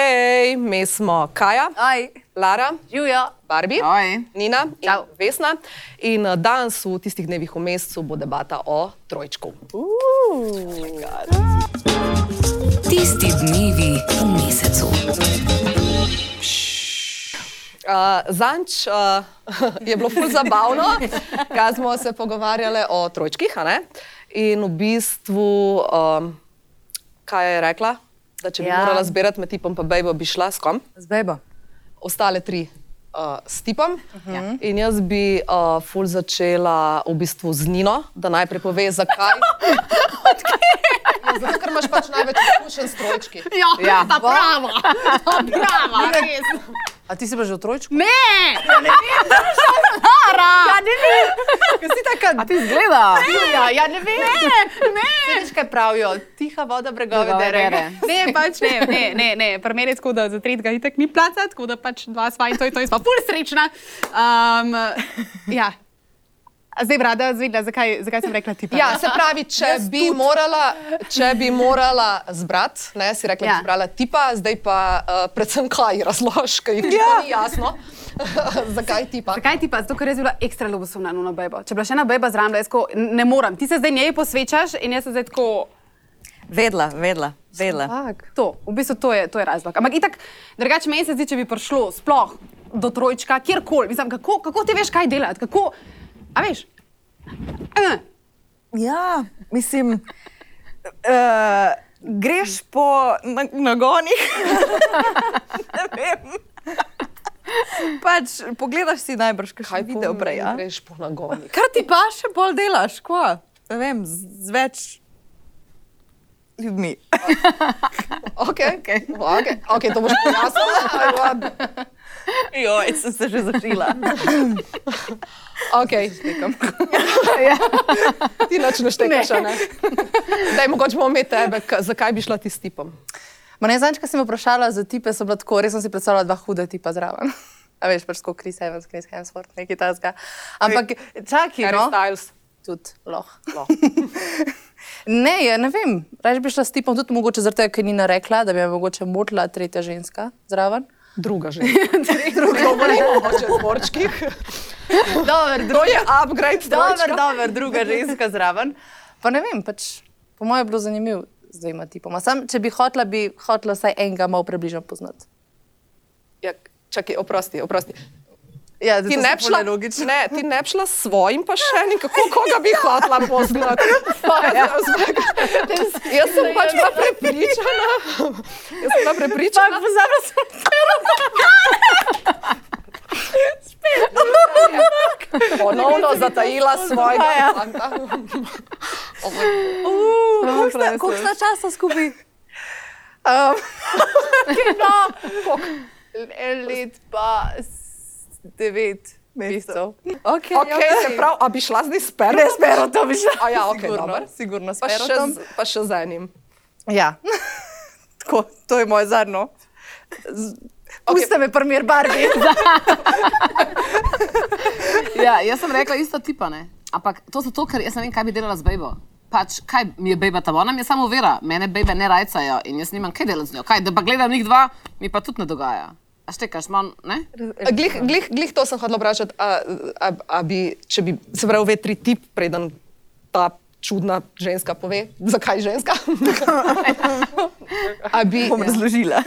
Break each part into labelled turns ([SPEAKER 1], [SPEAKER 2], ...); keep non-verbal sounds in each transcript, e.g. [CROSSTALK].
[SPEAKER 1] Hej, mi smo Kaja,
[SPEAKER 2] Aj,
[SPEAKER 1] Lara,
[SPEAKER 2] živijo.
[SPEAKER 1] Barbi,
[SPEAKER 3] Aj.
[SPEAKER 1] Nina in
[SPEAKER 2] Čau.
[SPEAKER 1] Vesna. In eh, danes v tistih dnevih v mesecu bo debata o trojčku. Eh,
[SPEAKER 4] Tisti dnevi v mesecu.
[SPEAKER 1] Uh, Zanč uh, [LAUGHS] je bilo ful zabavno,
[SPEAKER 2] [LAUGHS]
[SPEAKER 1] kaj smo se pogovarjali o trojčkih. a ne? In v bistvu, um, kaj je rekla, da če bi
[SPEAKER 2] Ja.
[SPEAKER 1] ja. morala zbirati med tipom, pa bejbo bi šla s kom.
[SPEAKER 3] Zdaj bo.
[SPEAKER 1] ostale tri uh, s tipom. Ja. In jaz bi uh, ful začela v bistvu z Nino, da najprej pove, zakaj. Ja, Zato, ker imaš pač največ izkušenj s trojčki.
[SPEAKER 5] Ja,
[SPEAKER 3] Ja.
[SPEAKER 5] ta prava, ta prava,
[SPEAKER 6] [LAUGHS]
[SPEAKER 5] res.
[SPEAKER 3] A ti si pa že v trojčku?
[SPEAKER 5] Ne, ja ne vem, da je šlo Lara. Ja ne vem,
[SPEAKER 3] A ti zgleda?
[SPEAKER 5] ja, ja ne vem. Ne, ne.
[SPEAKER 2] Veš, kaj pravijo? Tiha voda bregove
[SPEAKER 3] Bregove
[SPEAKER 2] dere.
[SPEAKER 3] dere.
[SPEAKER 5] Ne, pač ne, ne, ne, ne. pri meni je tako, da za tretjega itek ni placa, tako da pač dva sva in to je to, in sva pol srečna. Um, ja. A Zdaj bi rada zvedela, zakaj, zakaj sem rekla ti.
[SPEAKER 1] Ja, se pravi, če bi morala, če bi morala zbrati, ne, si rekla, da
[SPEAKER 5] Ja.
[SPEAKER 1] si zbrala tipa, zdaj pa uh, predvsem kaj razloži, ker jih ja. ni jasno, [LAUGHS] zakaj tipa.
[SPEAKER 5] Zakaj ti pa? Zato, ker jaz bi bila ekstra ljubosumna na bebo. Če bi bila še ena beba zraven, bila jaz tako, "N- ne morem. Ti se zdaj njej posvečaš in jaz se zdaj tako.
[SPEAKER 6] Vedla, vedla, vedla.
[SPEAKER 5] To, v bistvu to je, to je razlog. Ampak itak, drugače meni se zdi, če bi prišlo sploh do trojčka, kjerkoli, mislim, kako, kako ti veš, kaj delati, kako, a veš? Eh,
[SPEAKER 6] Ja, mislim, uh, greš po na- nagonih. [LAUGHS] Ne vem. pač pogledaš si najbrž, kaj video prej. ja? a?
[SPEAKER 1] Greš po nagonih.
[SPEAKER 6] Kar ti pa še bolj delaš, kva? Ne vem, z, z več ljudmi. [LAUGHS]
[SPEAKER 1] Okay. Okay. Okay. Okay, to boš pojasnila. ali pa-
[SPEAKER 6] Joj, sem se že začela.
[SPEAKER 1] Okay. [LAUGHS] Ja. ti noč ne štekaš, a ne? Daj, mogoče bomo imeli tebe, k- zakaj bi šla ti s tipom?
[SPEAKER 2] Ma ne, zanč, kaj si me vprašala za tipe, so bila tako, res sem si predstavljala dva huda tipa zraven. [LAUGHS] A veš, pač kot Chris Evans, Chris Hemsworth, nekaj tazga. Ampak čakaj,
[SPEAKER 1] Harry
[SPEAKER 2] no.
[SPEAKER 1] Styles. No.
[SPEAKER 2] Tudi loh. loh. ne, ja, ne vem, raje bi šla s tipom, tudi mogoče zaradi tega, ker ni narekla, da bi me mogoče motila tretja ženska [LAUGHS] zraven.
[SPEAKER 1] Druga že. Druga že. Mogoče v dvorčkih.
[SPEAKER 2] Dober,
[SPEAKER 1] To je upgrade.
[SPEAKER 2] Dober,
[SPEAKER 1] dvojčka.
[SPEAKER 2] dober, druga ženska zraven. Pa ne vem, pač, po mojem je bilo zanimivo z dvema tipoma. Sam, če bi hotla, bi hotla vsaj enega malo približno poznati.
[SPEAKER 1] Ja, čakaj, oprosti, oprosti.
[SPEAKER 2] Ja,
[SPEAKER 1] Ti ne, bi šla, ne, ti ne bi šla s svojim, pa še enim, kako koga bi hotla poznati. Jaz sem pač bila prepričana. Jaz sem bila prepričana.
[SPEAKER 2] Pozabila sem.
[SPEAKER 1] Ponovno zatajila no, svojega
[SPEAKER 6] Ja.
[SPEAKER 1] fanta.
[SPEAKER 6] Koliko sta časa skupaj?
[SPEAKER 2] Ehm, [LAUGHS] Let pa s- devet mesecev.
[SPEAKER 6] Okay,
[SPEAKER 1] Okay, se pravi, a bi šla zdaj s perom?
[SPEAKER 2] Ne, s perotom bi šla.
[SPEAKER 1] A ja, okej,
[SPEAKER 2] sigurno,
[SPEAKER 1] dobro.
[SPEAKER 2] sigurno s
[SPEAKER 1] Pa še,
[SPEAKER 2] perotom.
[SPEAKER 1] z- pa še z enim.
[SPEAKER 2] Ja. [LAUGHS] Tako, to je moje zadnjo. Pusti okay. me, primer [LAUGHS] Barbie.
[SPEAKER 3] [LAUGHS] Ja, jaz sem rekla isto tipa, ne. Ampak to zato, ker jaz ne vem, kaj bi delala z bejbo. Pač, kaj mi je bejba ta, ona mi je samo vera, mene bejbe ne rajcajo in jaz nimam kaj delati z njo. Kaj, da pa gledam njih dva, mi pa tudi ne dogaja. A štekaš, manj, ne?
[SPEAKER 1] E, Glih, glih, glih to sem hodila vprašati, a, a, a bi, če bi se pravi, ve tri tip, preden ta čudna ženska pove, zakaj [LAUGHS] ženska. a, bi, ja.
[SPEAKER 6] bom razložila.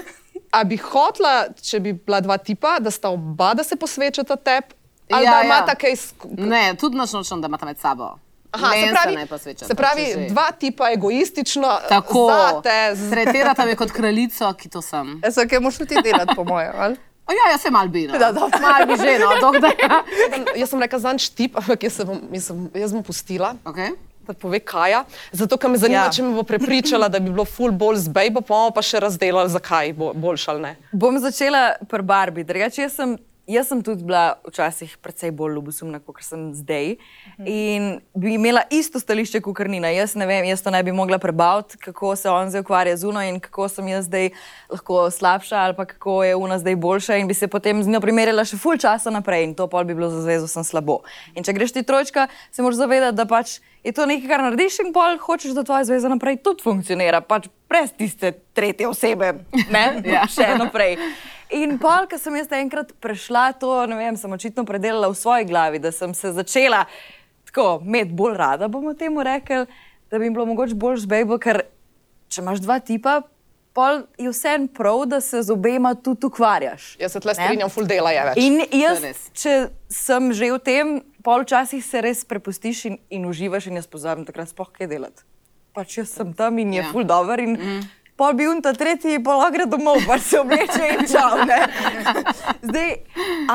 [SPEAKER 1] a bi hotla, če bi bila dva tipa, da sta oba, da se posvečata tebi, ali
[SPEAKER 3] Ja,
[SPEAKER 1] da
[SPEAKER 3] ja.
[SPEAKER 1] imata kaj skupaj.
[SPEAKER 3] Ne, tudi noč nočem, da imata med sabo.
[SPEAKER 1] Aha,
[SPEAKER 3] Meni
[SPEAKER 1] se pravi,
[SPEAKER 3] ne posvečam.
[SPEAKER 1] se pravi dva tipa egoistično,
[SPEAKER 3] Tako,
[SPEAKER 1] zate, z
[SPEAKER 3] tretirata me kot kraljico, ki to sem.
[SPEAKER 2] Ja, so, kaj moš ti delati, po mojem, ali?
[SPEAKER 3] O, ja, jaz sem albino.
[SPEAKER 2] Da, da.
[SPEAKER 3] Mal bi že, no, dokdaj. [LAUGHS]
[SPEAKER 1] Jaz- Jaz sem rekla, zanj štip, ampak jaz, se bom, jaz, sem, jaz bom pustila. [LAUGHS]
[SPEAKER 3] Okay.
[SPEAKER 1] Da pove, kaj je. Zato, ker me zanima, ja.
[SPEAKER 6] Ja.
[SPEAKER 1] če me bo prepričala, da bi bilo ful bolj z bejbo, pa bomo pa še razdelali, zakaj bo boljš ali ne.
[SPEAKER 6] Bom začela pri Barbi. Drugače, jaz sem Jaz sem tudi bila včasih precej bolj ljubosumna, kot sem zdaj. In bi imela isto stališče kot Krnina. Jaz ne vem, jaz to ne bi mogla prebaviti, kako se on zdaj ukvarja z uno in kako sem jaz zdaj lahko slabša ali pa kako je una zdaj boljša. In bi se potem z njo primerjala še full časa naprej in to pol bi bilo za zvezo sem slabo. In če greš ti trojčka, se moraš zavedati, da pač je to nekaj, kar narediš in pol hočeš, da tvoja zveza naprej tudi funkcionira, pač brez tiste tretje osebe, ne, ja. še naprej. In pol, ko sem jaz enkrat prešla to, ne vem, sem očitno predelala v svoji glavi, da sem se začela tako imeti bolj rada, bomo temu rekli, da bi jim bilo mogoče bolj žbejbo, ker če imaš dva tipa, pol je vsem prav, da se z obema tudi ukvarjaš.
[SPEAKER 1] Jaz se tle
[SPEAKER 6] ne.
[SPEAKER 1] strinjam, full dela je več.
[SPEAKER 6] In
[SPEAKER 3] To je res.
[SPEAKER 6] jaz, če sem že v tem, pol včasih se res prepustiš in, in uživaš, in jaz pozabim takrat sploh kaj delati. Pač jaz sem tam in je
[SPEAKER 3] Ja.
[SPEAKER 6] ful dobr. In,
[SPEAKER 1] Mhm.
[SPEAKER 6] Pol bi unta tretji, pol lahko gre domov, pa se obleče in čau.
[SPEAKER 1] [LAUGHS]
[SPEAKER 6] ne. Zdaj,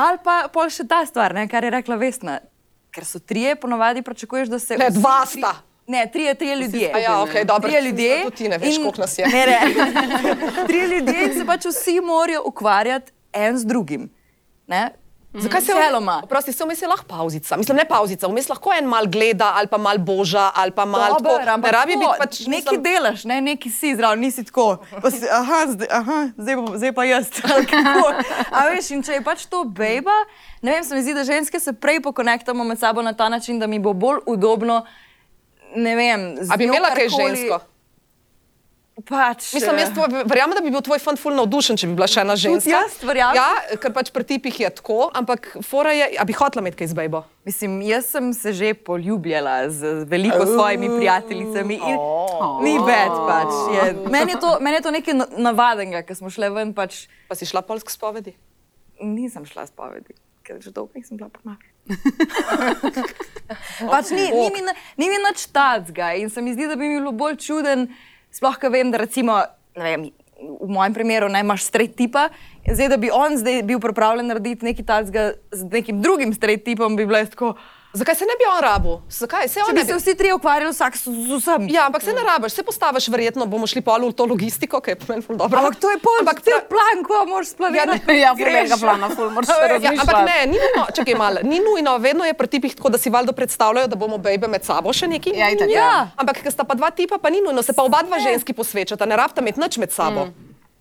[SPEAKER 6] ali pa pol še ta stvar, ne, kar je rekla Vesna. Ker so trije, ponovadi pričakuješ, da se.
[SPEAKER 1] Ne,
[SPEAKER 6] vsi
[SPEAKER 1] dva
[SPEAKER 6] tri-
[SPEAKER 1] sta.
[SPEAKER 6] Ne, trije, trije ljudje.
[SPEAKER 1] skupaj, ja, okej, dobro,
[SPEAKER 6] Trije
[SPEAKER 1] sem
[SPEAKER 6] ljudje.
[SPEAKER 1] mislila, tudi ti ne veš,
[SPEAKER 6] in-
[SPEAKER 1] koliko nas je.
[SPEAKER 6] Ne, ne. [LAUGHS] Trije ljudje in se pač vsi morajo ukvarjati en z drugim. Ne?
[SPEAKER 1] Zakaj se
[SPEAKER 6] Celoma.
[SPEAKER 1] Prosti, se vmes je lahko pauzica. Mislim, ne pauzica, vmes lahko en mal gleda ali pa mal boža ali pa mal
[SPEAKER 6] Dobro,
[SPEAKER 1] tako. Ne
[SPEAKER 6] ampak
[SPEAKER 1] rabi
[SPEAKER 6] tako,
[SPEAKER 1] biti pač
[SPEAKER 6] nekaj
[SPEAKER 1] mislim,
[SPEAKER 6] delaš, ne, nekaj si zraven, nisi tako. Pa Si, aha, zdaj, aha, zdaj, pa, zdaj pa jaz. [LAUGHS] ali kako. A veš, in če je pač to beba, ne vem, se mi zdi, da ženske se prej pokonektamo med sabo na ta način, da mi bo bolj udobno. Ne vem, z
[SPEAKER 1] A bi
[SPEAKER 6] njo
[SPEAKER 1] imela kaj
[SPEAKER 6] karkoli-
[SPEAKER 1] žensko?
[SPEAKER 6] Pač,
[SPEAKER 1] Mislim, jaz tvoj, verjamem, da bi bil tvoj fant ful navdušen, če bi bila še ena ženska.
[SPEAKER 6] jaz verjamem.
[SPEAKER 1] Ja, ker pač pri tipih je tako, ampak fora je, a bi hotla imeti kaj z bejbo.
[SPEAKER 6] Mislim, jaz sem se že poljubljala z veliko svojimi prijateljicami in ni več pač. Je. Meni je to, meni je to nekaj na- navadnega, ker smo šli ven, pač
[SPEAKER 1] Pa si šla polsk spovedi.
[SPEAKER 6] nisem šla spovedi, ker že dolgo nisem bila pomagala. pač ni, ni, mi, na- ni mi nič tacga in se mi zdi, da bi mi bilo bolj čuden, sploh, ker vem, da recimo, ne vem, v mojem primeru ne imaš straight tipa, in zdaj, da bi on zdaj bil pripravljen narediti nekaj tacga z nekim drugim straight tipom, bi bila jaz tako.
[SPEAKER 1] Zakaj se ne bi on rabu? Zakaj se
[SPEAKER 6] Če
[SPEAKER 1] on
[SPEAKER 6] bi
[SPEAKER 1] ne bi?
[SPEAKER 6] se vsi trije ukvarjali, vsak s, z vsem.
[SPEAKER 1] Ja, ampak se ne rabiš, se postaviš, verjetno bomo šli pol v to logistiko, ki je po meni ful dobro.
[SPEAKER 6] Ampak to je pol, ampak ti
[SPEAKER 1] pra-
[SPEAKER 6] plan, ko moraš splaviti.
[SPEAKER 3] Ja, ful enega plana, ful moraš še
[SPEAKER 1] Ja,
[SPEAKER 3] razmišljati.
[SPEAKER 1] ampak ne, ni nujno, čakaj malo, ni nujno, vedno je pri tipih tako, da si valjda predstavljajo, da bomo bejbe med sabo še neki.
[SPEAKER 3] Ja, itak, ja.
[SPEAKER 1] Ampak, ker sta pa dva tipa, pa ni nujno, se pa oba dva ženski posvečata, ne rabta imeti nič med sabo.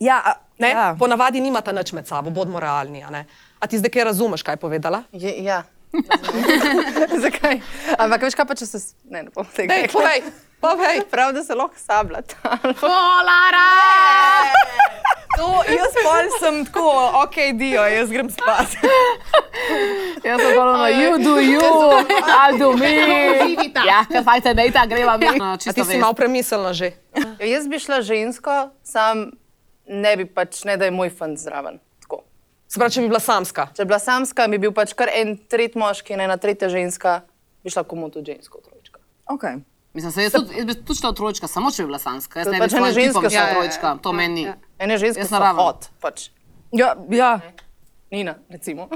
[SPEAKER 6] Ja, a-
[SPEAKER 1] Ne?
[SPEAKER 6] ja.
[SPEAKER 1] Ponavadi nimata nič med sabo, bodimo realni. A, ne? a ti zdaj kaj razumeš, kaj je povedala?
[SPEAKER 2] Je, ja. [LAUGHS] Zakaj? Ampak veš kaj pa, če se... s- Ne, ne bom tega
[SPEAKER 1] Dej,
[SPEAKER 2] rekla.
[SPEAKER 1] povej, povej.
[SPEAKER 2] [LAUGHS]
[SPEAKER 6] [LAUGHS]
[SPEAKER 2] Prav, da se lahko sabljata.
[SPEAKER 5] Polara!
[SPEAKER 6] To, jaz pol sem tako, ok, dio, jaz grem spat.
[SPEAKER 3] Jaz sem govorila, no, you do you, I'll do me.
[SPEAKER 5] živita.
[SPEAKER 3] Ja, kaj fajta, ne, ta greva mi. No,
[SPEAKER 1] A ti
[SPEAKER 3] čisto
[SPEAKER 1] si
[SPEAKER 3] vest.
[SPEAKER 1] malo premislila že.
[SPEAKER 2] Ja, [LAUGHS] Jaz bi šla žensko, sam ne bi pač, ne da je moj fant zraven. Tako.
[SPEAKER 1] Se pravi, če bi bila samska.
[SPEAKER 2] Če bi bila samska, bi bil pač kar en tretji moški in ena tretja ženska, bi šla komu tudi žensko trojčka.
[SPEAKER 6] Okay.
[SPEAKER 3] Mislim, se jaz, tudi, jaz bi tudi šla v trojčka, samo če bi bila sanska. Jaz ne
[SPEAKER 2] Pač
[SPEAKER 3] bi šla
[SPEAKER 2] ene
[SPEAKER 3] ženska,
[SPEAKER 2] ženske
[SPEAKER 3] šla
[SPEAKER 2] so- Ja,
[SPEAKER 3] v
[SPEAKER 2] ja,
[SPEAKER 3] trojčka, to meni ni.
[SPEAKER 2] Ene ženske
[SPEAKER 3] Jaz
[SPEAKER 2] so
[SPEAKER 3] naravno.
[SPEAKER 2] hod, pač.
[SPEAKER 6] Ja, ja.
[SPEAKER 2] Nina, recimo.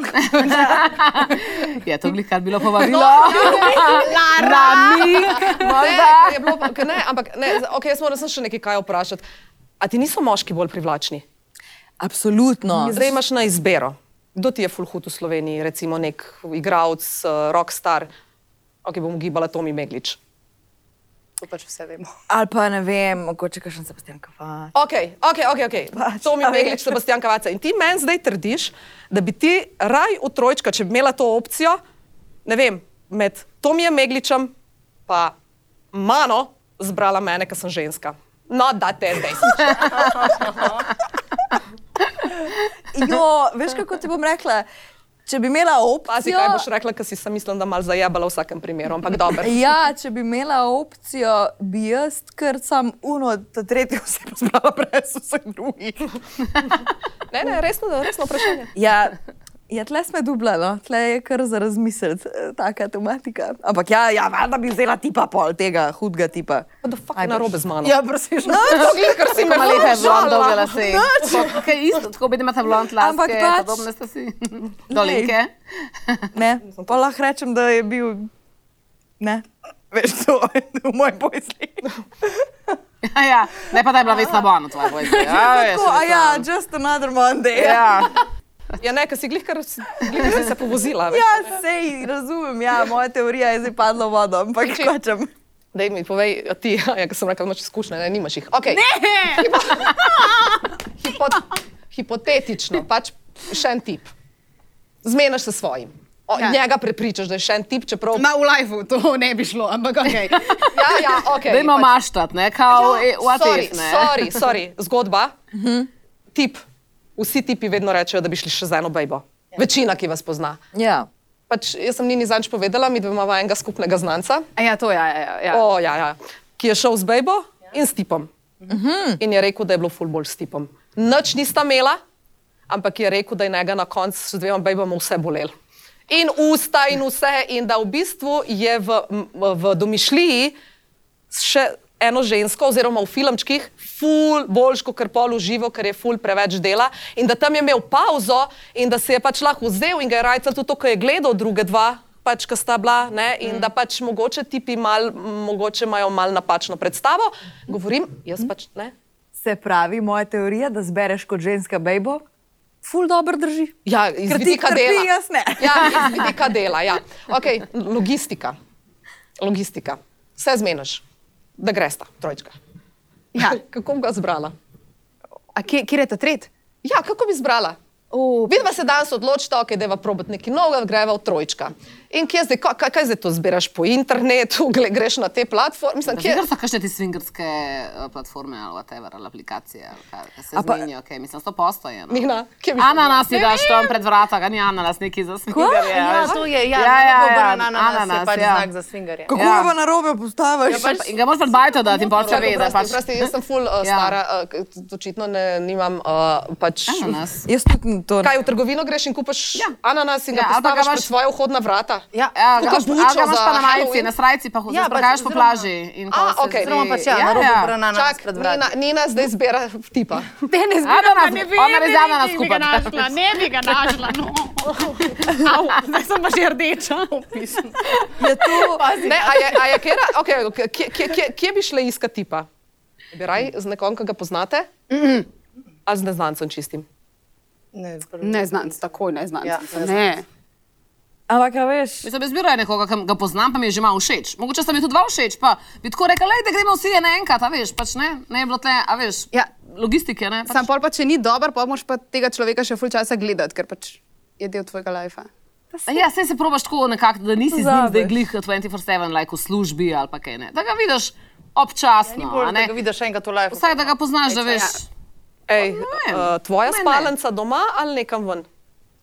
[SPEAKER 3] Je to glih, kar bilo povabilo.
[SPEAKER 1] Ne, ker je bilo, pa- ker ne, ampak ne, okay, jaz moram samo še nekaj kaj vprašati. A ti niso moški bolj privlačni?
[SPEAKER 2] Mhm.
[SPEAKER 6] Absolutno.
[SPEAKER 1] Zdaj imaš na izbiro. Kdo ti je fulhut v Sloveniji, recimo nek igralec, uh, rockstar, ok, bom gibala Tomi Meglič.
[SPEAKER 2] To pač vse vemo.
[SPEAKER 6] Ali pa ne vem, mogoče kakšen Sebastian Kafa.
[SPEAKER 1] Ok, ok, ok, ok. Tomi
[SPEAKER 6] a veš.
[SPEAKER 1] Meglič, Sebastian Kavaca. In ti meni zdaj trdiš, da bi ti raj v trojčka, če bi imela to opcijo, ne vem, med Tomijem Megličem pa mano zbrala mene, ker sem ženska. No, da te zdaj.
[SPEAKER 6] Jo, veš kako ti bom rekla? Če bi imela
[SPEAKER 1] Pazi,
[SPEAKER 6] opcijo,
[SPEAKER 1] kaj boš rekla, ker si sem mislila, da mal zajabala v vsakem primeru, ampak dobro.
[SPEAKER 6] ja, če bi imela opcijo, bi jaz kar sam uno, ta tretji osebo zbrala brez vseh drugih.
[SPEAKER 1] Ne, ne, resno, resno vprašanje.
[SPEAKER 6] Ja, ja tle smo dubla, no. tle je kar za razmisliti, eh, taka tematika. Ampak ja, ja valjda bi vzela tipa pol tega hudega tipa.
[SPEAKER 1] What the fuck je
[SPEAKER 6] Ajde.
[SPEAKER 1] narobe z mano?
[SPEAKER 2] Ja, prosim, no,
[SPEAKER 1] to je, kar si me
[SPEAKER 2] malo lepe
[SPEAKER 1] žalila.
[SPEAKER 2] blonde lase.
[SPEAKER 3] Tako, Kaj isto, tako bi imela blond las,
[SPEAKER 6] Ampak pač-
[SPEAKER 3] podobne ste si. [LAUGHS] Dolinke.
[SPEAKER 6] Ne, pa lahko rečem, da je bil. Ne, veš, to je v mojem pojasni.
[SPEAKER 3] Ja, [LAUGHS] ja. Ne pa da je bila vesna bona tvoja vojska. Ja,
[SPEAKER 6] Tako, a ja, just another Monday.
[SPEAKER 3] Ja.
[SPEAKER 1] Ja, ne, ker si glih kar si- glih kar si se povozila. veš.
[SPEAKER 6] Ja, sej razumem, ja, moja teorija je zdaj padla v vodo, ampak hočem.
[SPEAKER 1] Daj mi povej, a ti, [LAUGHS] ja, ker sem rekla, imaš izkušnje, ne, nimaš jih. Okay. Ne! Hipo, hipo, hipotetično, pač še en tip. Zmenaš se s svojim. O, ja.
[SPEAKER 5] Ja.
[SPEAKER 1] Njega prepričaš, da je še en tip, čeprav.
[SPEAKER 5] Ma v lifeu to ne bi šlo, ampak ok.
[SPEAKER 1] Ja, ja, okay,
[SPEAKER 3] Dajmo
[SPEAKER 1] pač- Ja,
[SPEAKER 3] maštat, ne, kao, e, what
[SPEAKER 1] sorry,
[SPEAKER 3] if, ne.
[SPEAKER 1] sorry, sorry, zgodba. Tip. Vsi tipi vedno rečejo, da bi šli še z eno bejbo. Večina, ki vas pozna.
[SPEAKER 6] Ja.
[SPEAKER 1] Pač, jaz sem Nini zanč povedala, mi dva imamo enega skupnega znanca,
[SPEAKER 5] A Ja, to je. Ja, ja, ja.
[SPEAKER 1] o, ja, ja, ki je šel z bejbo in s tipom. In je rekel, da je bilo ful bolj s tipom. Noč nista imela, ampak je rekel, da je njega na koncu s dvema bejbama vse bolelo. In usta in vse, in da v bistvu je v, m- v domišljiji s še eno žensko, oziroma v filmčkih, ful boljš kot pol v živo, ker je ful preveč dela. In da tam je imel pauzo in da se je pač lahko vzel in ga je rajcal tudi to, ko je gledal druge dva. Pač, ki sta bila, ne, in mm. da pač mogoče tipi mal, mogoče imajo malo napačno predstavo. Govorim, jaz pač ne.
[SPEAKER 6] Se pravi, moja teorija, da zbereš kot ženska bejbo, ful dobro drži.
[SPEAKER 1] Ja, iz
[SPEAKER 6] Ker ti
[SPEAKER 1] vidika
[SPEAKER 6] trpi,
[SPEAKER 1] dela.
[SPEAKER 6] jaz ne.
[SPEAKER 1] Ja, iz [LAUGHS] vidika dela. Ja. Okay, logistika. logistika. Vse zmeniš, da greš ta trojčka.
[SPEAKER 5] ja.
[SPEAKER 1] [LAUGHS] Kako bi ga zbrala?
[SPEAKER 5] A kje, kje je ta tret?
[SPEAKER 1] Ja, kako bi zbrala? Vidva se danes odločita, ok, deva probat neki novega, greva v trojčka. In kje zdaj, ka- kaj, kaj zdaj to zbiraš po internetu, [LAUGHS] gle, greš na te platforme? Mislim,
[SPEAKER 3] Kje
[SPEAKER 1] kje,
[SPEAKER 3] so kakšne te svingerske eh, platforme ali whatever, ali aplikacije, ali kaj, ki se
[SPEAKER 6] A pa-
[SPEAKER 3] zmenijo, kaj mislim, sto posto je. No.
[SPEAKER 1] Nina, kje bi
[SPEAKER 3] Ananas je daš tam pred vrata, ga ni ananas, neki za svingerje.
[SPEAKER 2] Ja,
[SPEAKER 3] veš.
[SPEAKER 2] to je, ja,
[SPEAKER 3] Ja, ja,
[SPEAKER 2] dobro,
[SPEAKER 3] ja,
[SPEAKER 2] ananas, ananas je
[SPEAKER 3] ananas,
[SPEAKER 2] pač
[SPEAKER 3] ja.
[SPEAKER 2] ja. znak za svingarje.
[SPEAKER 6] Kako
[SPEAKER 3] Ja.
[SPEAKER 6] jo pa na robe postaviš?
[SPEAKER 3] Ja, pač, in ga moraš pred bajto dati in pol se ve, da
[SPEAKER 1] Prosti,
[SPEAKER 3] pač
[SPEAKER 1] prosti, jaz sem full uh,
[SPEAKER 3] [LAUGHS] Ja.
[SPEAKER 1] stara, uh, k- t- očitno ne, nimam uh, pač.
[SPEAKER 3] ananas.
[SPEAKER 6] Jaz tudi n- to ne.
[SPEAKER 1] Kaj v trgovino greš in kupaš
[SPEAKER 3] Ja.
[SPEAKER 1] ja. ananas in ga
[SPEAKER 3] Ja,
[SPEAKER 1] ja,
[SPEAKER 3] ali pa ga
[SPEAKER 1] postaviš pred
[SPEAKER 3] imaš-
[SPEAKER 1] svoje vhodna vrata?
[SPEAKER 3] Ja, ja,
[SPEAKER 1] Tako
[SPEAKER 3] ga imaš-
[SPEAKER 1] bučo
[SPEAKER 3] ali ga imaš
[SPEAKER 1] za
[SPEAKER 3] pa na majici,
[SPEAKER 1] Halloween.
[SPEAKER 3] na srajci pa hočeš,
[SPEAKER 2] Ja,
[SPEAKER 3] ja,
[SPEAKER 2] pač
[SPEAKER 3] sprekaš po
[SPEAKER 2] oziroma-
[SPEAKER 3] plaži. in pol
[SPEAKER 1] A,
[SPEAKER 3] se
[SPEAKER 1] okej.
[SPEAKER 3] zdi-
[SPEAKER 2] Oziroma pač ja, na robu brana nas
[SPEAKER 1] Čak,
[SPEAKER 2] pred vrati.
[SPEAKER 1] Nina, Nina zdaj zbira tipa.
[SPEAKER 5] Ne, ne
[SPEAKER 3] Ajde, ona-
[SPEAKER 5] zbiramo, ne bi,
[SPEAKER 3] ona
[SPEAKER 5] ne
[SPEAKER 3] res
[SPEAKER 5] bi,
[SPEAKER 3] dana nas
[SPEAKER 5] ne bi ga
[SPEAKER 3] skupaj.
[SPEAKER 5] našla, ne bi ga našla. No. Au, zdaj sem pa že rdeča.
[SPEAKER 6] Je to,
[SPEAKER 1] Ne, a je, a je kera, okay, kje, kje, kje, kje bi šli iskat tipa? Bi raj z nekom, ki ga poznate? Ali z neznancem čistim?
[SPEAKER 2] Ne,
[SPEAKER 5] Ne znam, takoj ne znam.
[SPEAKER 2] Ja, ne
[SPEAKER 5] ne.
[SPEAKER 6] ampak a veš,
[SPEAKER 3] Mislim, jaz zbiraj nekoga, ki ga poznam, pa mi je že malo všeč. Mogoče sta mi tudi dva všeč, pa bi tako rekla, "Lej, da gremo vsi naenkrat, a veš, pač ne, ne je bilo tle, a veš,
[SPEAKER 5] Ja.
[SPEAKER 3] logistike, ne. Pač.
[SPEAKER 5] Sam pol pa, če ni dober, pa moraš pa tega človeka še full časa gledati, ker pač je del tvojega lajfa.
[SPEAKER 3] Ja, saj se probaš tako nekako, da nisi z njim
[SPEAKER 6] Pozabiš.
[SPEAKER 3] zdaj glih 24-7, like v službi ali pa kaj ne. Da ga vidiš
[SPEAKER 6] Ja,
[SPEAKER 3] občasno,
[SPEAKER 2] Ni
[SPEAKER 3] No, a
[SPEAKER 2] bolj,
[SPEAKER 3] ne.
[SPEAKER 2] da ga vidiš še enkrat v live.
[SPEAKER 3] Vsaj da ga poznaš, da veš.
[SPEAKER 1] Ej,
[SPEAKER 3] vem,
[SPEAKER 1] uh, tvoja
[SPEAKER 3] ne, ne.
[SPEAKER 1] spalnica doma ali nekam ven?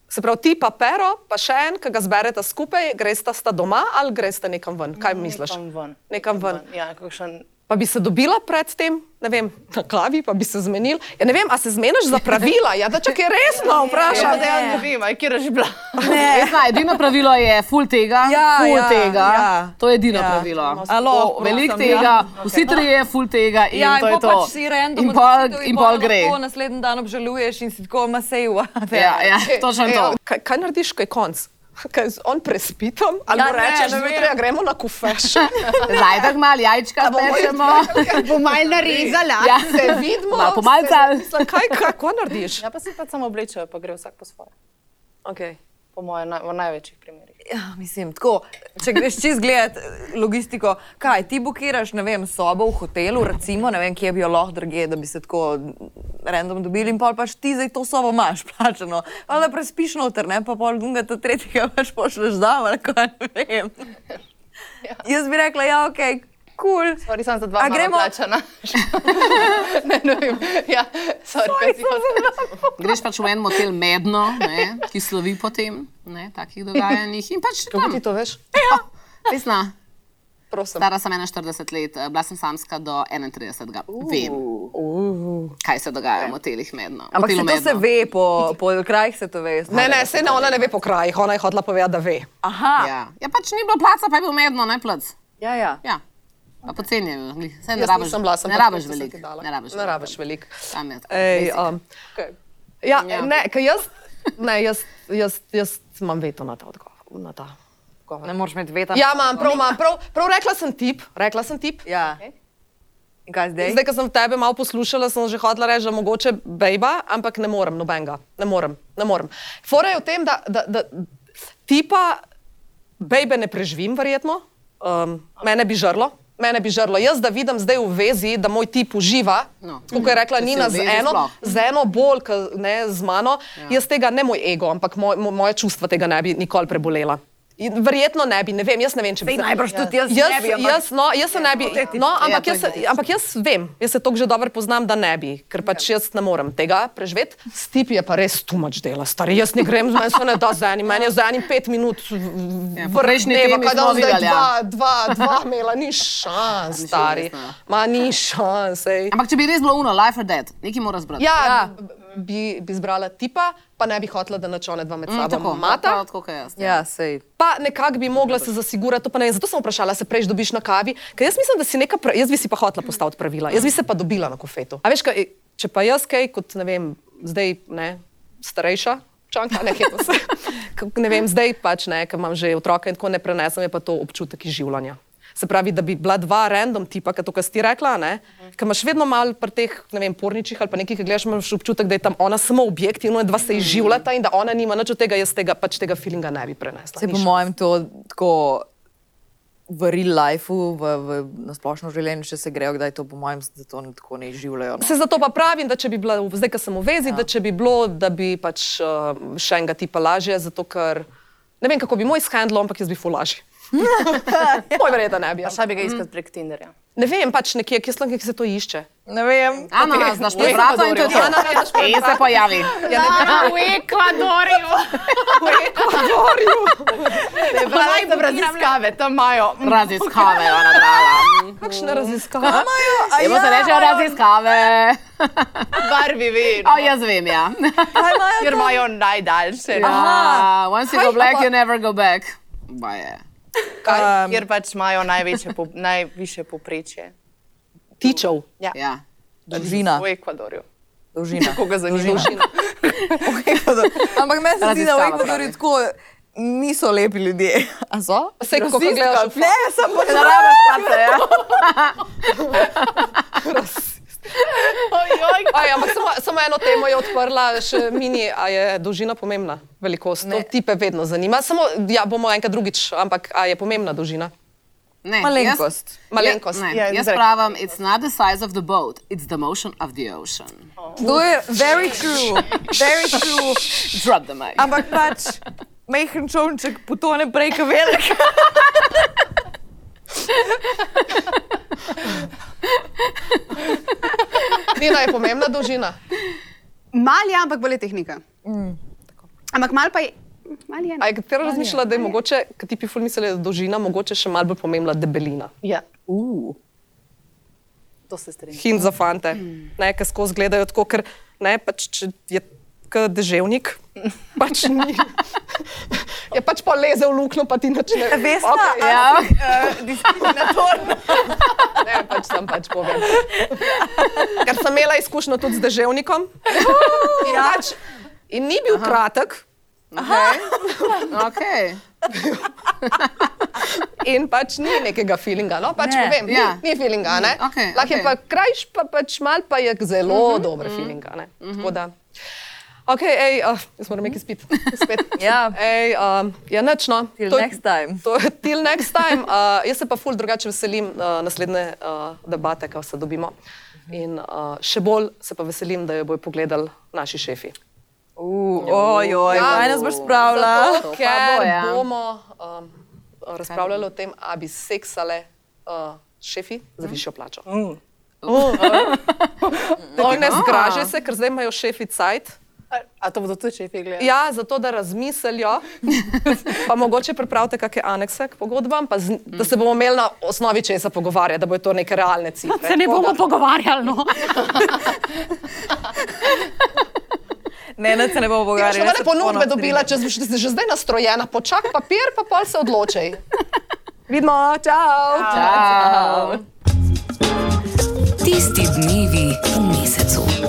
[SPEAKER 1] Se pravi, ti pa pero, pa še en, ki ga zberete skupaj, greste sta doma ali greste nekam ven? Kaj misliš?
[SPEAKER 2] Nekam ven.
[SPEAKER 1] Nekam ven.
[SPEAKER 2] Ja, kakšen...
[SPEAKER 1] Pa bi se dobila predtem, ne vem, na klavi, pa bi se zmenil. Ja, ne vem, a se zmeniš za pravila? Ja, da če je resno,
[SPEAKER 2] Ja,
[SPEAKER 1] vprašam.
[SPEAKER 2] ne, ne vem, aj kje je že bila.
[SPEAKER 3] Jaz znam, edino pravilo je full tega,
[SPEAKER 6] Ja,
[SPEAKER 3] full
[SPEAKER 6] ja,
[SPEAKER 3] tega.
[SPEAKER 6] ja.
[SPEAKER 3] To je edino
[SPEAKER 6] Ja.
[SPEAKER 3] pravilo.
[SPEAKER 6] Alo,
[SPEAKER 3] O, Veliko
[SPEAKER 6] prosim, ja.
[SPEAKER 3] tega, vsi trije, full tega in
[SPEAKER 6] Ja, in
[SPEAKER 3] to je
[SPEAKER 6] pol
[SPEAKER 3] to.
[SPEAKER 6] pač si random
[SPEAKER 3] in pol,
[SPEAKER 6] odločitev
[SPEAKER 3] in pol gre.
[SPEAKER 6] lahko Naslednji dan obžaluješ in si tako masejuva.
[SPEAKER 3] Ja, ja, točno [LAUGHS] to.
[SPEAKER 1] E, Kaj, kaj narediš, ko je konc? [LAUGHS] Kaj z on prespitom, ali ja,
[SPEAKER 6] Ja, ne,
[SPEAKER 1] rečeš,
[SPEAKER 6] ne
[SPEAKER 1] da
[SPEAKER 6] vem.
[SPEAKER 1] jutri ja gremo na
[SPEAKER 3] [LAUGHS]
[SPEAKER 1] kufeš.
[SPEAKER 3] Zajdek mal,
[SPEAKER 1] [LAUGHS]
[SPEAKER 3] jajčka pečemo.
[SPEAKER 5] Bo mal narezala.
[SPEAKER 3] Ja.
[SPEAKER 1] Se vidimo,
[SPEAKER 3] Malo pomalcal.
[SPEAKER 1] se- mislim, kaj, kako narediš?
[SPEAKER 2] [LAUGHS] Ja, pa se pa samo oblečejo, pa gre vsak po svoje.
[SPEAKER 1] Okay.
[SPEAKER 2] Po mojem, naj, v največjih primerih.
[SPEAKER 6] Ja, mislim, tako, če greš čez gled logistiko, kaj ti bukiraš, ne vem, sobo v hotelu, recimo, ne vem, kje bi jo lahko drugje, da bi se tako mm, random dobili in pol pač ti zdaj to sobo imaš plačano. Pa da prespiš noter, ne pa pol dunga ta tretjega pač pošleš dol, ali kaj ne vem. Ja. Jaz bi rekla, ja, ok, kul. Cool.
[SPEAKER 2] Sorry, sem za dva
[SPEAKER 6] A
[SPEAKER 2] malo
[SPEAKER 6] gremo-
[SPEAKER 2] plačana. [LAUGHS] ne, ne vem. Ja, sorry, kaj si hotel.
[SPEAKER 3] Greš pač v en motel medno, ne, ki slovi po tem, ne, takih dogajanjih. In pač
[SPEAKER 1] Kako
[SPEAKER 3] tam,
[SPEAKER 1] ti to veš?
[SPEAKER 3] resna.
[SPEAKER 1] Prosim.
[SPEAKER 3] Stara sem 41 let, eh, bila sem samska do 31. Uh. Vem, kaj se dogaja v motelih medno.
[SPEAKER 6] Ampak se
[SPEAKER 3] Motelu
[SPEAKER 6] to se
[SPEAKER 3] medno.
[SPEAKER 6] ve, po, po krajih se to ve. jaz
[SPEAKER 1] Ne, ne, se ne, ona ne ve po krajih, ona je hotela povedati, da ve.
[SPEAKER 6] Aha,
[SPEAKER 3] Ja. ja, pač ni bilo placa, pa je bil medno, ne plac.
[SPEAKER 6] ja, ja.
[SPEAKER 3] Ja. Pa poceni je bil, glih. Saj ne
[SPEAKER 1] Jaz
[SPEAKER 3] rabiš,
[SPEAKER 1] nisem bila, sem
[SPEAKER 3] ne
[SPEAKER 1] pač
[SPEAKER 3] rabiš
[SPEAKER 1] to, kar sem ti
[SPEAKER 3] veliko.
[SPEAKER 1] dala.
[SPEAKER 3] Ne rabiš
[SPEAKER 1] Ne rabiš veliko.
[SPEAKER 3] Tam je tako,
[SPEAKER 1] Ej,
[SPEAKER 3] basic.
[SPEAKER 1] um, ja,
[SPEAKER 3] Ja.
[SPEAKER 1] ne, ker
[SPEAKER 3] [LAUGHS]
[SPEAKER 1] jaz, ne, jaz, jaz, jaz imam veto na ta odgovor. Na ta
[SPEAKER 6] Ne
[SPEAKER 1] odgovor.
[SPEAKER 6] moreš imeti veta.
[SPEAKER 1] Ja, imam, prav, imam, prav, prav rekla sem tip, rekla sem tip.
[SPEAKER 6] ja. In kaj zdaj?
[SPEAKER 1] Zdaj, ko sem tebe malo poslušala, sem že hodila reči, da mogoče bejba, ampak ne morem nobenega. Ne morem. ne morem. Fora je v tem, da, da, da tipa, bejbe ne preživim, verjetno, um, mene bi žrlo. Mene bi žrlo. Jaz, da vidim zdaj v vezi, da moj tip uživa,
[SPEAKER 3] No.
[SPEAKER 1] no. kot je rekla
[SPEAKER 3] Če si
[SPEAKER 1] Nina,
[SPEAKER 3] v
[SPEAKER 1] z
[SPEAKER 3] vezi
[SPEAKER 1] eno,
[SPEAKER 3] sploh.
[SPEAKER 1] z eno bolj, ke- ne z mano, ja. jaz tega ne moj ego, ampak moj, moj, moje čustva tega ne bi nikoli prebolela. In verjetno ne bi, ne vem, jaz ne vem, če bi.
[SPEAKER 6] Sej
[SPEAKER 1] se-
[SPEAKER 6] najbrž tudi jaz
[SPEAKER 1] Jaz,
[SPEAKER 6] ne bi, ampak-
[SPEAKER 1] jaz, no, jaz se ne bi. No, ampak,
[SPEAKER 3] Ja,
[SPEAKER 1] jaz,
[SPEAKER 3] to je
[SPEAKER 1] se- ampak jaz vem, jaz se tako že dobro poznam, da ne bi, ker pač jaz ne morem tega preživeti. Stip je pa res tumač dela, stari. Jaz ne grem, meni se ne da z enim, meni je z enim pet minut.
[SPEAKER 3] Ja,
[SPEAKER 1] Ja,
[SPEAKER 3] po prejšnji temi smo videli, ja.
[SPEAKER 1] dva, dva, dva imela, ni šans, stari.
[SPEAKER 3] resno, ja.
[SPEAKER 1] Ma ni šans. ej.
[SPEAKER 3] Ampak če bi res bilo uno, life or death, nekaj moraš zbrati.
[SPEAKER 1] Ja, bi, bi zbrala tipa, pa ne bi hotela, da načone dva med
[SPEAKER 3] Mm,
[SPEAKER 1] sabo
[SPEAKER 3] tako,
[SPEAKER 1] mata.
[SPEAKER 3] prav tako kot jaz.
[SPEAKER 6] Ja, sej.
[SPEAKER 1] Pa nekako bi mogla se zasigurati, to pa ne vem. Zato sem vprašala, se prej dobiš na kavi. Ker jaz mislim, da si neka, pra- jaz bi si pa hotela postaviti pravila, jaz bi se pa dobila na kofetu. A veš, kaj, če pa jaz kaj, kot ne vem, zdaj ne, starejša. Čanka, ne, hecam se. [LAUGHS] Kako- ne vem, zdaj pač ne, ker imam že otroke in tako ne prenesem, je pa to občutek izživljanja. Se pravi, da bi bila dva random tipa, kot to, kar si ti rekla, ne? Ker imaš vedno malo pri teh, ne vem, porničih ali pa nekih, ki gledaš, imaš občutek, da je tam ona samo objekt in ona dva se izživljata in da ona nima nič od tega, jaz tega pač tega feelinga ne bi prenesla.
[SPEAKER 6] Se
[SPEAKER 1] Ni
[SPEAKER 6] po
[SPEAKER 1] šans.
[SPEAKER 6] mojem to tako v real lifeu, v, v nasplošno življenju, če se grejo, kdaj to po mojem, da to ne- tako ne izživljajo. No.
[SPEAKER 1] Se zato pa pravim, da če bi bila, v- zdaj, ko sem v vezi, ja. da če bi bilo, da bi pač uh, še enega tipa lažje, zato ker ne vem, kako bi moj shandlo, ampak jaz bi fu lažje. Moj verjetno ne bi.
[SPEAKER 2] Pa
[SPEAKER 1] ampak-
[SPEAKER 2] šla Ja, bi ga iskati prek Tinderja.
[SPEAKER 1] Ne vem, pač nekje, kje slonke, ki se to išče.
[SPEAKER 6] Ne vem.
[SPEAKER 3] Ananas, daš pred vrata in to je to.
[SPEAKER 1] Ananas daš pred
[SPEAKER 3] In se pojavi.
[SPEAKER 1] Ja, ne vem,
[SPEAKER 2] [LAUGHS]
[SPEAKER 5] v Ekvadorju.
[SPEAKER 1] v Ekvadorju.
[SPEAKER 2] Pravi, da raziskave, tam imajo. mm,
[SPEAKER 3] Raziskave, ona brava.
[SPEAKER 1] Kakšne raziskave?
[SPEAKER 3] Jemo se reče raziskave.
[SPEAKER 2] Barvi vin,
[SPEAKER 3] O, jaz vem, ja.
[SPEAKER 2] ker imajo najdaljše. no.
[SPEAKER 3] [LAUGHS] Ah, Once you go black, you never go back. Baje.
[SPEAKER 1] Kaj?
[SPEAKER 2] Ker pač imajo največje po, najviše poprečje
[SPEAKER 1] Tičev.
[SPEAKER 3] Ja.
[SPEAKER 6] Dolžina.
[SPEAKER 2] v Ekvadorju.
[SPEAKER 6] Dolžina.
[SPEAKER 2] Koga zanima?
[SPEAKER 6] V Ekvador- [LAUGHS] Ampak meni se zdi, da v
[SPEAKER 3] Raziskava
[SPEAKER 6] Ekvadorju
[SPEAKER 3] pravi.
[SPEAKER 6] tako niso lepi ljudje. [LAUGHS] A so?
[SPEAKER 1] Saj, ko- ko gledaš v-
[SPEAKER 6] Ne, sem pač
[SPEAKER 3] Naravna stvar, ja.
[SPEAKER 1] Aj, ampak samo, samo eno temo je odprla, še mini, a je dolžina pomembna, velikost. Ne. To tipe vedno zanima. Samo, ja, bomo enkrat drugič, ampak a je pomembna dolžina?
[SPEAKER 3] Ne,
[SPEAKER 6] Malenkost.
[SPEAKER 3] jaz-
[SPEAKER 1] Malenkost.
[SPEAKER 3] Ne,
[SPEAKER 2] Ja,
[SPEAKER 3] jaz
[SPEAKER 2] izrekla.
[SPEAKER 3] pravim, it's not the size of the boat, it's the motion of the ocean.
[SPEAKER 6] To je very true, very true.
[SPEAKER 3] Drop the mic.
[SPEAKER 6] Ampak pač majhen čovnček potone prej, kot velik.
[SPEAKER 1] Nina je pomembna dolžina.
[SPEAKER 5] Mal je, ampak bolje tehnika. Mm. Ampak mal pa je. Mal je.
[SPEAKER 1] A je katero razmišljala, da je mogoče, ki ti piful mislijo, da je dolžina, mogoče še malo bolj pomembna debelina.
[SPEAKER 2] Ja,
[SPEAKER 6] Uh.
[SPEAKER 2] to se strinjam.
[SPEAKER 1] Hin za fante, ne, ki skozi gledajo tako, ker ne, pač če je kot deževnik, pač ni. [LAUGHS] Je pač pa leze v luknjo, pa ti načne.
[SPEAKER 6] Vesna, okay, ja.
[SPEAKER 3] Ja.
[SPEAKER 6] diskriminatorna.
[SPEAKER 1] [LAUGHS] Ne, pač sem pač povem. Ker sem imela izkušnjo tudi z deževnikom. In, pač, in ni bil Aha. kratek.
[SPEAKER 3] Okay.
[SPEAKER 1] In pač ni nekega filinga, no pač
[SPEAKER 6] Ne,
[SPEAKER 1] ne, povem, ja.
[SPEAKER 3] ja.
[SPEAKER 1] ni, ni filinga. Ne?
[SPEAKER 3] Okej,
[SPEAKER 1] Lahko je
[SPEAKER 3] okej.
[SPEAKER 1] pa krajš, pa pač mal pa je zelo mm -hmm, dober mm -hmm. filinga. Ne? Tako da. Ok, ej, uh, jaz moram nekaj spiti. Spet.
[SPEAKER 6] Ja.
[SPEAKER 1] Ej, um, ja, nič, no.
[SPEAKER 6] Till
[SPEAKER 1] To je-
[SPEAKER 6] next time.
[SPEAKER 1] To, je till next time. Uh, jaz se pa ful drugače veselim uh, naslednje uh, debate, ko se dobimo. In uh, še bolj se pa veselim, da jo bojo pogledali naši šefi.
[SPEAKER 6] Ojoj,
[SPEAKER 1] Ja.
[SPEAKER 6] kaj nas boš spravila?
[SPEAKER 1] Zato,
[SPEAKER 3] pa
[SPEAKER 1] ker
[SPEAKER 3] bo,
[SPEAKER 1] bo,
[SPEAKER 3] ja.
[SPEAKER 1] ja. bomo um, razpravljali o tem, ali bi seksale uh, šefi za višjo plačo. Mm. Uh. Ne zgražaj se, ker zdaj imajo šefi cajt.
[SPEAKER 2] A, a to bodo tudi šefi gledali?
[SPEAKER 1] Ja, zato da razmislijo, pa mogoče pripravite kakšne anekse k pogodbam, pa z, da se bomo imeli na osnovi česa pogovarjati, da bojo to neke realne cifre.
[SPEAKER 5] Se ne bomo pogovarjali. No.
[SPEAKER 6] Ne, ne, se ne bomo
[SPEAKER 1] Ti boš
[SPEAKER 6] pogovarjali.
[SPEAKER 1] nobene ponudbe dobila, če si že- že zdaj nastrojena, počakaj papir, pa pol se odločaj.
[SPEAKER 6] Vidimo, čau.
[SPEAKER 3] Ciao.
[SPEAKER 4] Tisti dnevi v mesecu.